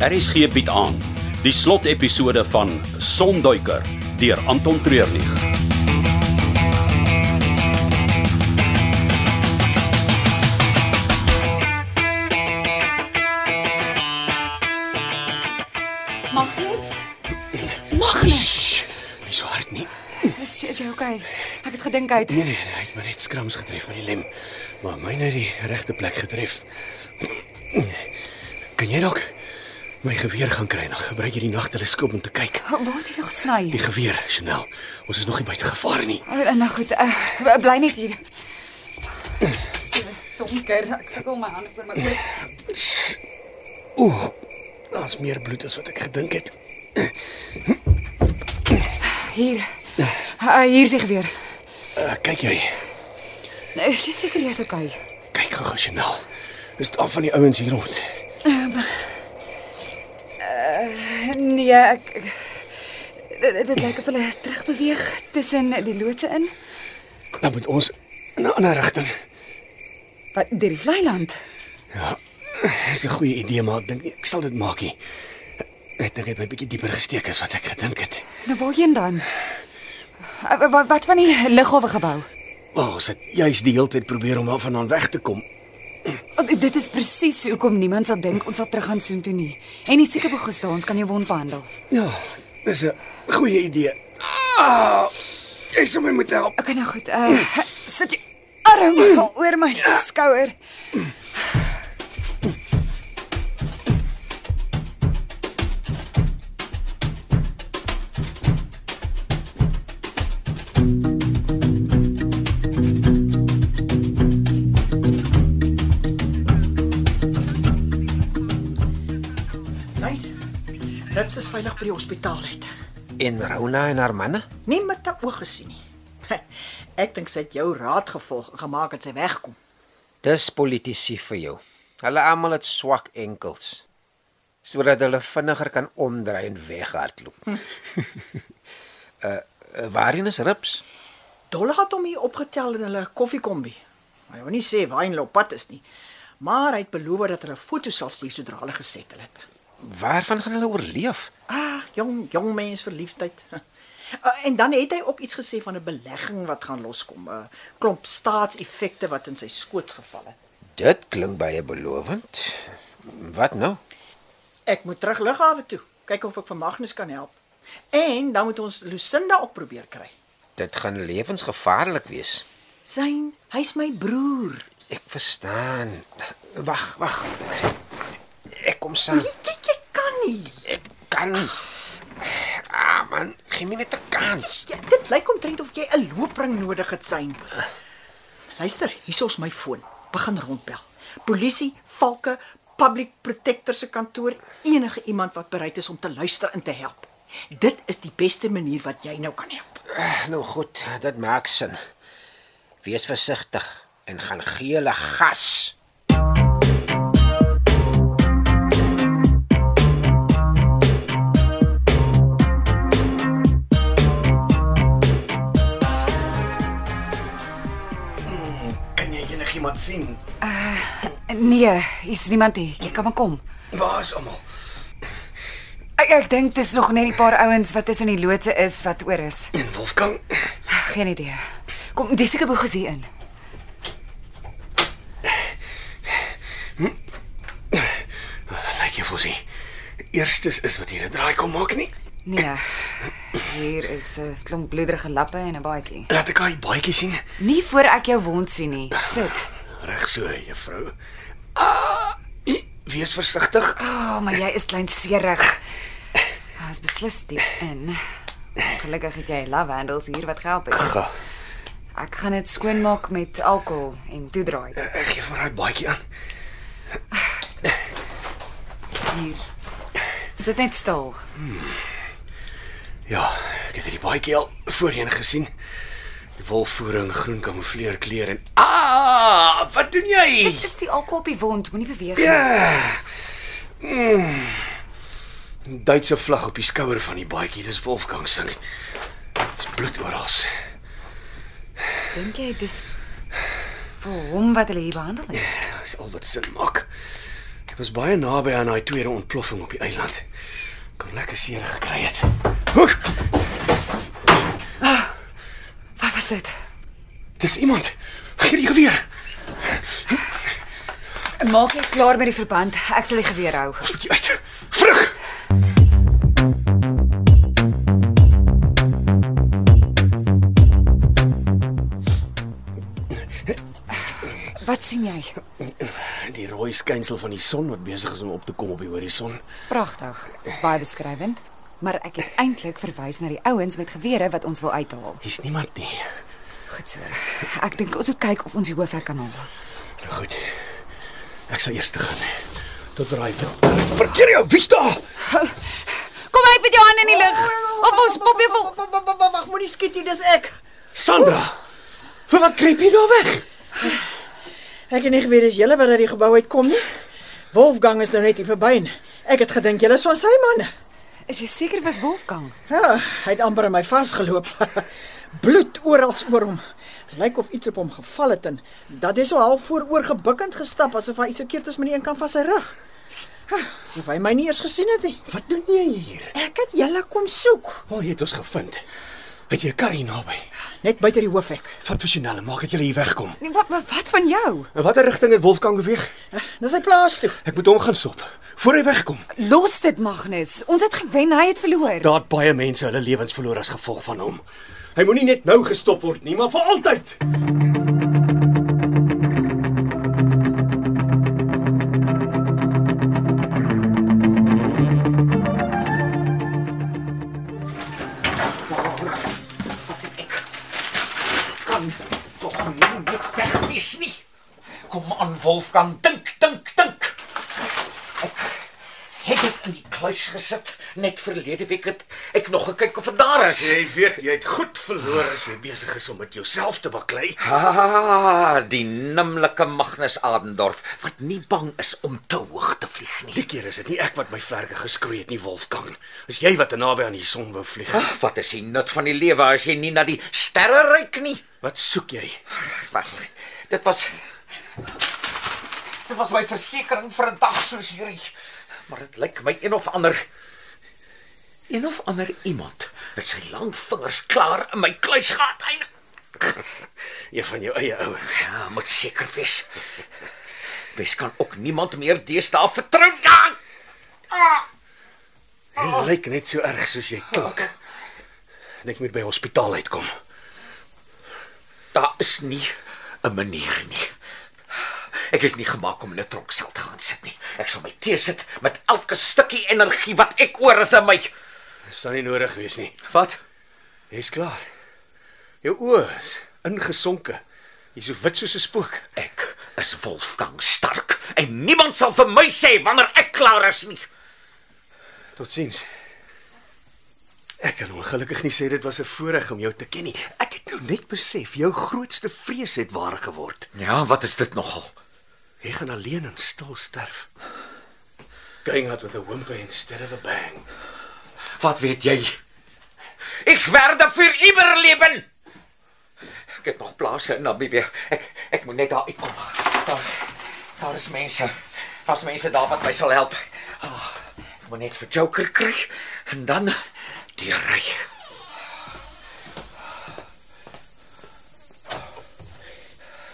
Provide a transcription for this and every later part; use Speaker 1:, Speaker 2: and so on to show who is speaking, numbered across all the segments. Speaker 1: RSG bied aan die slotepisode van Sonduiker deur Anton Treurnig.
Speaker 2: Magnus? Magnus,
Speaker 3: Nie so hard nie.
Speaker 2: is, is jy okay? Ek het gedink uit.
Speaker 3: Nee nee, nee, hy het my net skrams getref met die lem. Maar myne het die regte plek getref. Kan jy dalk my geweer gaan kry nog? Gebruik jy die nagteleskoop om te kyk.
Speaker 2: Waar het jy gesny?
Speaker 3: Die geweer, Chanel. Ons is nog nie buite gevaar nie.
Speaker 2: O, nou goed, uh, bly net hier. So donker. Ek sukkel om my hande voor my oë. te-
Speaker 3: Oeh. Daar's meer bloed as wat ek gedink het.
Speaker 2: Hier. Uh, hier sig weer.
Speaker 3: Uh, kyk jy.
Speaker 2: Is jy seker jy's okay?
Speaker 3: Kyk gou, Chanel. Dis af van die ouens hier rond.
Speaker 2: Nee, ek ek- dit, dit lyk of hulle terugbeweeg tussen die loodse in,
Speaker 3: Dan moet ons in 'n ander rigting.
Speaker 2: wat deur die vlei land.
Speaker 3: Ja. Dis 'n goeie idee, maar ek dink nie ek sal dit maak nie. Ek dink hy het my bietjie dieper gesteek as wat ek gedink het.
Speaker 2: Nou waarheen dan? Uh, wat, wat van die lughawe gebou?
Speaker 3: Oh, ons het juis die hele tyd probeer om af en aan weg te kom.
Speaker 2: Oh, Dit is presies hoekom niemand sal dink ons sal terug gaan soen toe nie. En die sieke boeg gestaan, ons kan jou wond behandel.
Speaker 3: Ja, dis 'n goeie idee. Ah, jy sou my moet help.
Speaker 2: Okay, nou goed. Uh sit jou arm oor my skouer.
Speaker 4: Sy Rips is veilig by die hospitaal uit.
Speaker 5: En Rona en haar manne?
Speaker 4: Nie met 'n oog gesien nie. Ek dink sy het jou raad gevolg en gemaak dat sy wegkom.
Speaker 5: Dis politici vir jou. Hulle almal het swak enkels sodat hulle vinniger kan omdraai en weghardloop. Hm. uh waarheen is Rips?
Speaker 4: Dolla het hom hier opgetel in hulle koffiekombi. Hy wou nie sê waarheen hulle op pad is nie, maar hy het beloof dat hulle foto's sal stuur sodra hulle gesettel het.
Speaker 5: Waarvan gaan hulle oorleef?
Speaker 4: Ag, jong, jong mens verliefdheid. Uh, en dan het hy ook iets gesê van 'n belegging wat gaan loskom, 'n klomp staatseffekte wat in sy skoot geval het.
Speaker 5: Dit klink baie belovend. Wat nou?
Speaker 4: Ek moet terug lughawe toe, kyk of ek vir Magnus kan help. En dan moet ons Lucinda ook probeer kry.
Speaker 5: Dit gaan lewensgevaarlik wees.
Speaker 4: Syn, hy's my broer.
Speaker 5: Ek verstaan. Wag, wag. Ek kom saam.
Speaker 4: Jy, jy kan nie.
Speaker 5: Ek kan. Ah man, gee my net 'n kans.
Speaker 4: Jy, dit lyk omtrent of jy 'n loopring nodig het, Syn. Luister, hier is my foon. Begin rondbel. Polisie, valke, public protector se kantoor, enige iemand wat bereid is om te luister en te help. Dit is die beste manier wat jy nou kan help.
Speaker 5: Eh, Nou goed, dit maak sin. Wees versigtig en gaan gele gas.
Speaker 3: Kan jy enigiemand sien?
Speaker 2: Nee, hier's niemand hier. Jy kan maar kom.
Speaker 3: Waar is almal?
Speaker 2: Ek ek dink dis nog net die paar ouens wat tussen die loodse is wat oor is.
Speaker 3: En Wolfgang,
Speaker 2: Geen idee. Kom, die sieke boeg is hier in.
Speaker 3: lyk jy vir sy. Eerstes is wat hier 'n draai kom maak nie.
Speaker 2: Nee. Hier is 'n klomp bloederige lappe en 'n baadjie.
Speaker 3: Laat ek hy baadjie sien.
Speaker 2: Nie voor ek jou wond sien nie. Sit.
Speaker 3: Reg so, juffrou. Ah, i- wees versigtig.
Speaker 2: O, oh, maar jy is klein seerig. Ons beslis diep in. Gelukkig het jy lavendels hier wat help het.
Speaker 3: Ga.
Speaker 2: Ek gaan dit skoonmaak met alkohol en toedraai.
Speaker 3: Ek gee vir daai baadjie aan.
Speaker 2: Hier. Sit net stil.
Speaker 3: Ja, ek het hierdie baadjie al voorheen gesien. Die wolfvoering, groen kamoufleer kleer en ah, wat doen jy?
Speaker 2: Dit is die alkohol op die wond, moenie beweeg nie.
Speaker 3: Ja. Mm. Duitse vlag op die skouer van die baadjie, dis Wolfgang se. Dis bloed oral.
Speaker 2: Dink jy dis vir hom wat hulle hier behandel het?
Speaker 3: Dis al wat sin maak. Ek Was baie naby aan daai tweede ontploffing op die eiland. Kon lekker seer gekry het. Hoek,
Speaker 2: Wat was dit?
Speaker 3: dis iemand. Gee die geweer.
Speaker 2: Maak net klaar met die verband. Ek sal die geweer hou.
Speaker 3: Ons moet hier uit. Vrug.
Speaker 2: Wat sien jy?
Speaker 3: Die rooi skynsel van die son wat besig is om op te kom op die horison.
Speaker 2: Pragtig. Dit's baie beskrywend. Maar ek het eintlik verwys na die ouens met gewere wat ons wil uithaal.
Speaker 3: Hier's niemand nie.
Speaker 2: Goed so. Ek dink ons moet kyk of ons die hoofhek kan haal.
Speaker 3: Nou goed. Ek sal eers te gaan. Tot raai vir. Parkeer jou, wie's daar?
Speaker 2: Kom uit met jou hande in die lug. Of ons pop jou vol.
Speaker 4: Wag, moenie skiet nie, dis ek.
Speaker 3: Sandra. Vir wat kruip jy daar weg?
Speaker 4: Ek het nie geweet dis julle wat uit die gebou uitkom nie. Wolfgang is nou net hier verby en ek het gedink julle is van sy manne.
Speaker 2: Is jy seker was Wolfgang?
Speaker 4: Ja, hy het amper aan my vasgeloop. Bloed oral oor hom. Lyk of iets op hom geval het en dat hy so half vooroor gebukkend gestap asof hy iets verkeerd is met die een kant van sy rug. Ha, Asof hy my nie eers gesien het nie.
Speaker 3: Wat doen jy hier?
Speaker 4: Ek het julle kom soek,
Speaker 3: Wel, jy het ons gevind. Het jy 'n kar hier naby?
Speaker 4: net buite die hoofhek.
Speaker 3: Vat vir Chanel, maak dat jy hier wegkom.
Speaker 2: Nee, wat wat wat van jou?
Speaker 3: In watter rigting het Wolfgang beweeg?
Speaker 4: Dis hy plaas toe.
Speaker 3: Ek moet hom gaan stop voor hy wegkom.
Speaker 2: Los dit Magnus. Ons het gewen, hy het verloor.
Speaker 3: Daar het baie mense hulle lewens verloor as gevolg van hom. Hy moenie net nou gestop word nie, maar vir altyd.
Speaker 6: kan tog nie net wegwees nie. Kom aan Wolfgang, dink, dink, dink. Ek het dit in die kluis gesit. Net verlede week het ek nog gekyk of dit daar is.
Speaker 3: weet jy het goed verloor as jy besig is om met jouself te baklei.
Speaker 6: Ah, die nimmerlike Magnus Adendorf wat nie bang is om te hoog te vlieg nie.
Speaker 3: Die keer is dit nie ek wat my vlerke geskroei het nie, Wolfgang. Dis jy wat te naby aan die son wou vlieg.
Speaker 6: Ag, Ah, wat is die nut van die lewe as jy nie na die sterre reik nie?
Speaker 3: Wat soek jy?
Speaker 6: Wag. Dit was Dit was my versekering vir 'n dag soos hierdie. Maar dit lyk my een of ander een of ander iemand met sy lang vingers klaar in my kluis gehad eindig.
Speaker 3: Een van jou eie ouens.
Speaker 6: Ja, moet seker wees. Mens kan ook niemand meer deesdae vertrou nie.
Speaker 3: Jy lyk net so erg soos jy klink. Dink jy moet by hospitaal uitkom.
Speaker 6: Daar is nie 'n manier nie. Ek is nie gemaak om in 'n tronksel te gaan sit nie. Ek sal my tee sit met elke stukkie energie wat ek oor het in my.
Speaker 3: Dis dan nie nodig wees nie.
Speaker 6: Wat?
Speaker 3: Jy's klaar. Jou oë is ingesonke. Jy's so wit soos 'n spook.
Speaker 6: Ek is Wolfgang Stark en niemand sal vir my sê wanneer ek klaar is nie.
Speaker 3: Totsiens. Ek kan ongelukkig nie sê dit was 'n voorreg om jou te ken nie. Ek het nou net besef jou grootste vrees het waar geword.
Speaker 6: Ja, wat is dit nogal?
Speaker 3: Jy gaan alleen en stil sterf. Going out with a whimper instead of a bang.
Speaker 6: Wat weet jy? Ek werde vir immer lewen. Ek het nog plase in Namibië. Ek ek moet net daar uitkom. Daar daar is mense. Daar's mense daar wat my sal help. Ag, ek Ah, moet net vir Joker kry en dan die ry.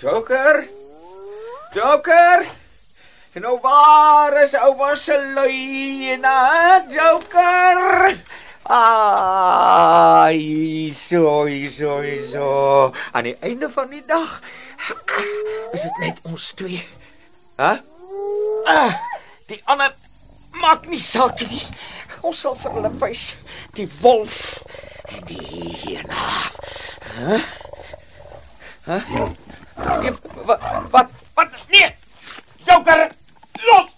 Speaker 6: Joker? Joker? En nou waar is ouma se luina, Joker? Ah, so, so, so. Aan die einde van die dag is dit net ons twee. Hæ? Huh? Ah, die ander maak nie saak nie. Ons sal vir hulle wys die wolf en die hyena. Hæ? Huh? Hæ? Huh? Wat wat wat nee. Joker, los!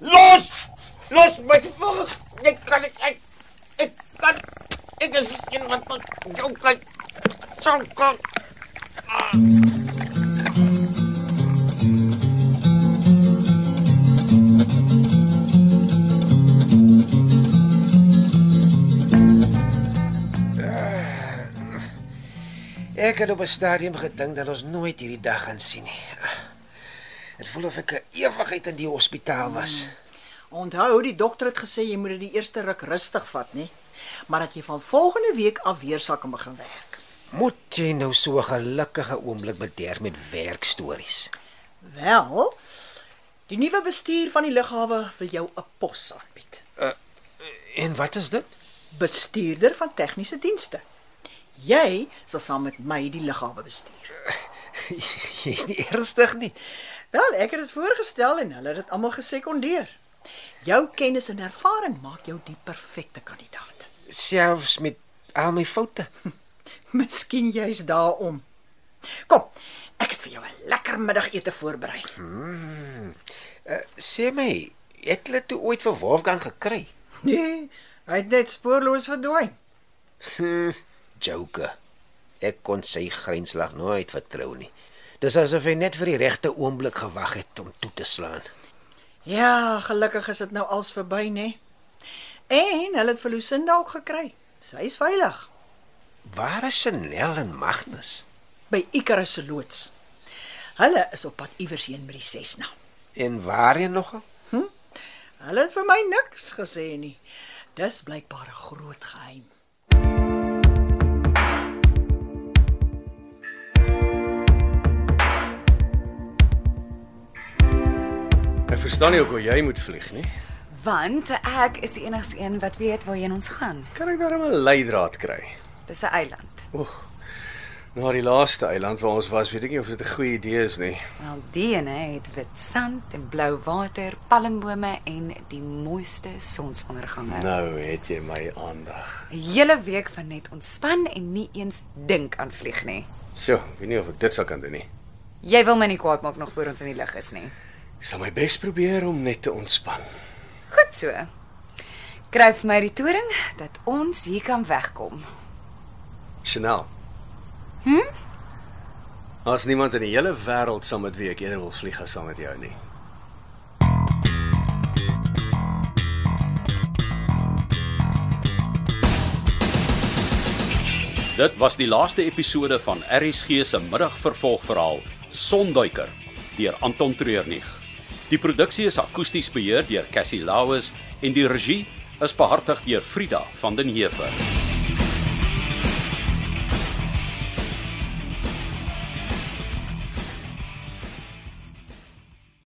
Speaker 6: Los! Los my vog. Ek kan ek ek, ek kan ek is in wat tot Joker. Joker.
Speaker 5: Ek het op 'n stadium gedink dat ons nooit hierdie dag gaan sien nie. Dit voel of ek 'n ewigheid in die hospitaal was.
Speaker 4: Onthou, die dokter het gesê jy moet dit die eerste ruk rustig vat, nê? Maar dat jy van volgende week af weer sal kan begin werk.
Speaker 5: Moet jy nou so 'n gelukkige oomblik bederf met werkstories?
Speaker 4: Wel, die nuwe bestuur van die lughawe wil jou 'n pos aanbied.
Speaker 5: En wat is dit?
Speaker 4: Bestuurder van tegniese dienste. Jy sal saam met my die lughawe bestuur.
Speaker 5: Jy's nie ernstig nie.
Speaker 4: Wel, ek het dit voorgestel en hulle het dit almal gesekondeer. Jou kennis en ervaring maak jou die perfekte kandidaat.
Speaker 5: Selfs met al my foute.
Speaker 4: Miskien jy's daarom. Kom, ek het vir jou 'n lekker middagete voorberei.
Speaker 5: Sê my, het hulle toe ooit vir Wolfgang gekry?
Speaker 4: Nee, hy het net spoorloos verdwyn.
Speaker 5: Joker. Hmm, Ek kon sy grynslag nooit vertrou nie. Dis asof hy net vir die regte oomblik gewag het om toe te slaan.
Speaker 4: Ja, gelukkig is dit nou als verby, nê. En hulle het vir Lucinda ook gekry. Sy is veilig
Speaker 5: Waar is Chanel en Magnus?
Speaker 4: by Icarus se loods. Hulle is op pad iewers heen met die Cessna.
Speaker 5: En waarheen nogal?
Speaker 4: Hulle het vir my niks gesê nie. Dis blykbaar 'n groot geheim.
Speaker 3: Ek verstaan nie hoekom jy moet vlieg nie.
Speaker 2: Want ek is die enigste een wat weet waarheen ons gaan.
Speaker 3: Kan ek darem 'n leidraad kry?
Speaker 2: Dis 'n eiland.
Speaker 3: Oeg. Na die laaste eiland waar ons was, weet ek nie of dit 'n goeie idee is nie.
Speaker 2: Wel, die ene het wit sand en blou water, palmbome en die mooiste sonsondergange.
Speaker 3: Nou het jy my aandag.
Speaker 2: 'n Hele week van net ontspan en nie eens dink aan vlieg nie.
Speaker 3: Sjoe, ek weet nie of ek dit sal kan doen nie.
Speaker 2: Jy wil my nie kwaad maak nog voor ons in die lug is nie.
Speaker 3: Ek sal my bes probeer om net te ontspan.
Speaker 2: Goed so. Kry vir my die toring dat ons hier kan wegkom.
Speaker 3: Chanel. Hm? As niemand in die hele wêreld saam met wie ek eerder wil vlieg as saam met jou nie.
Speaker 1: Dit was die laaste episode van RSG se middagvervolgverhaal Sonduiker deur Anton Treurnig. Die produksie is akoesties beheer deur Cassie Lauis en die regie is behartig deur Frida van den Heever.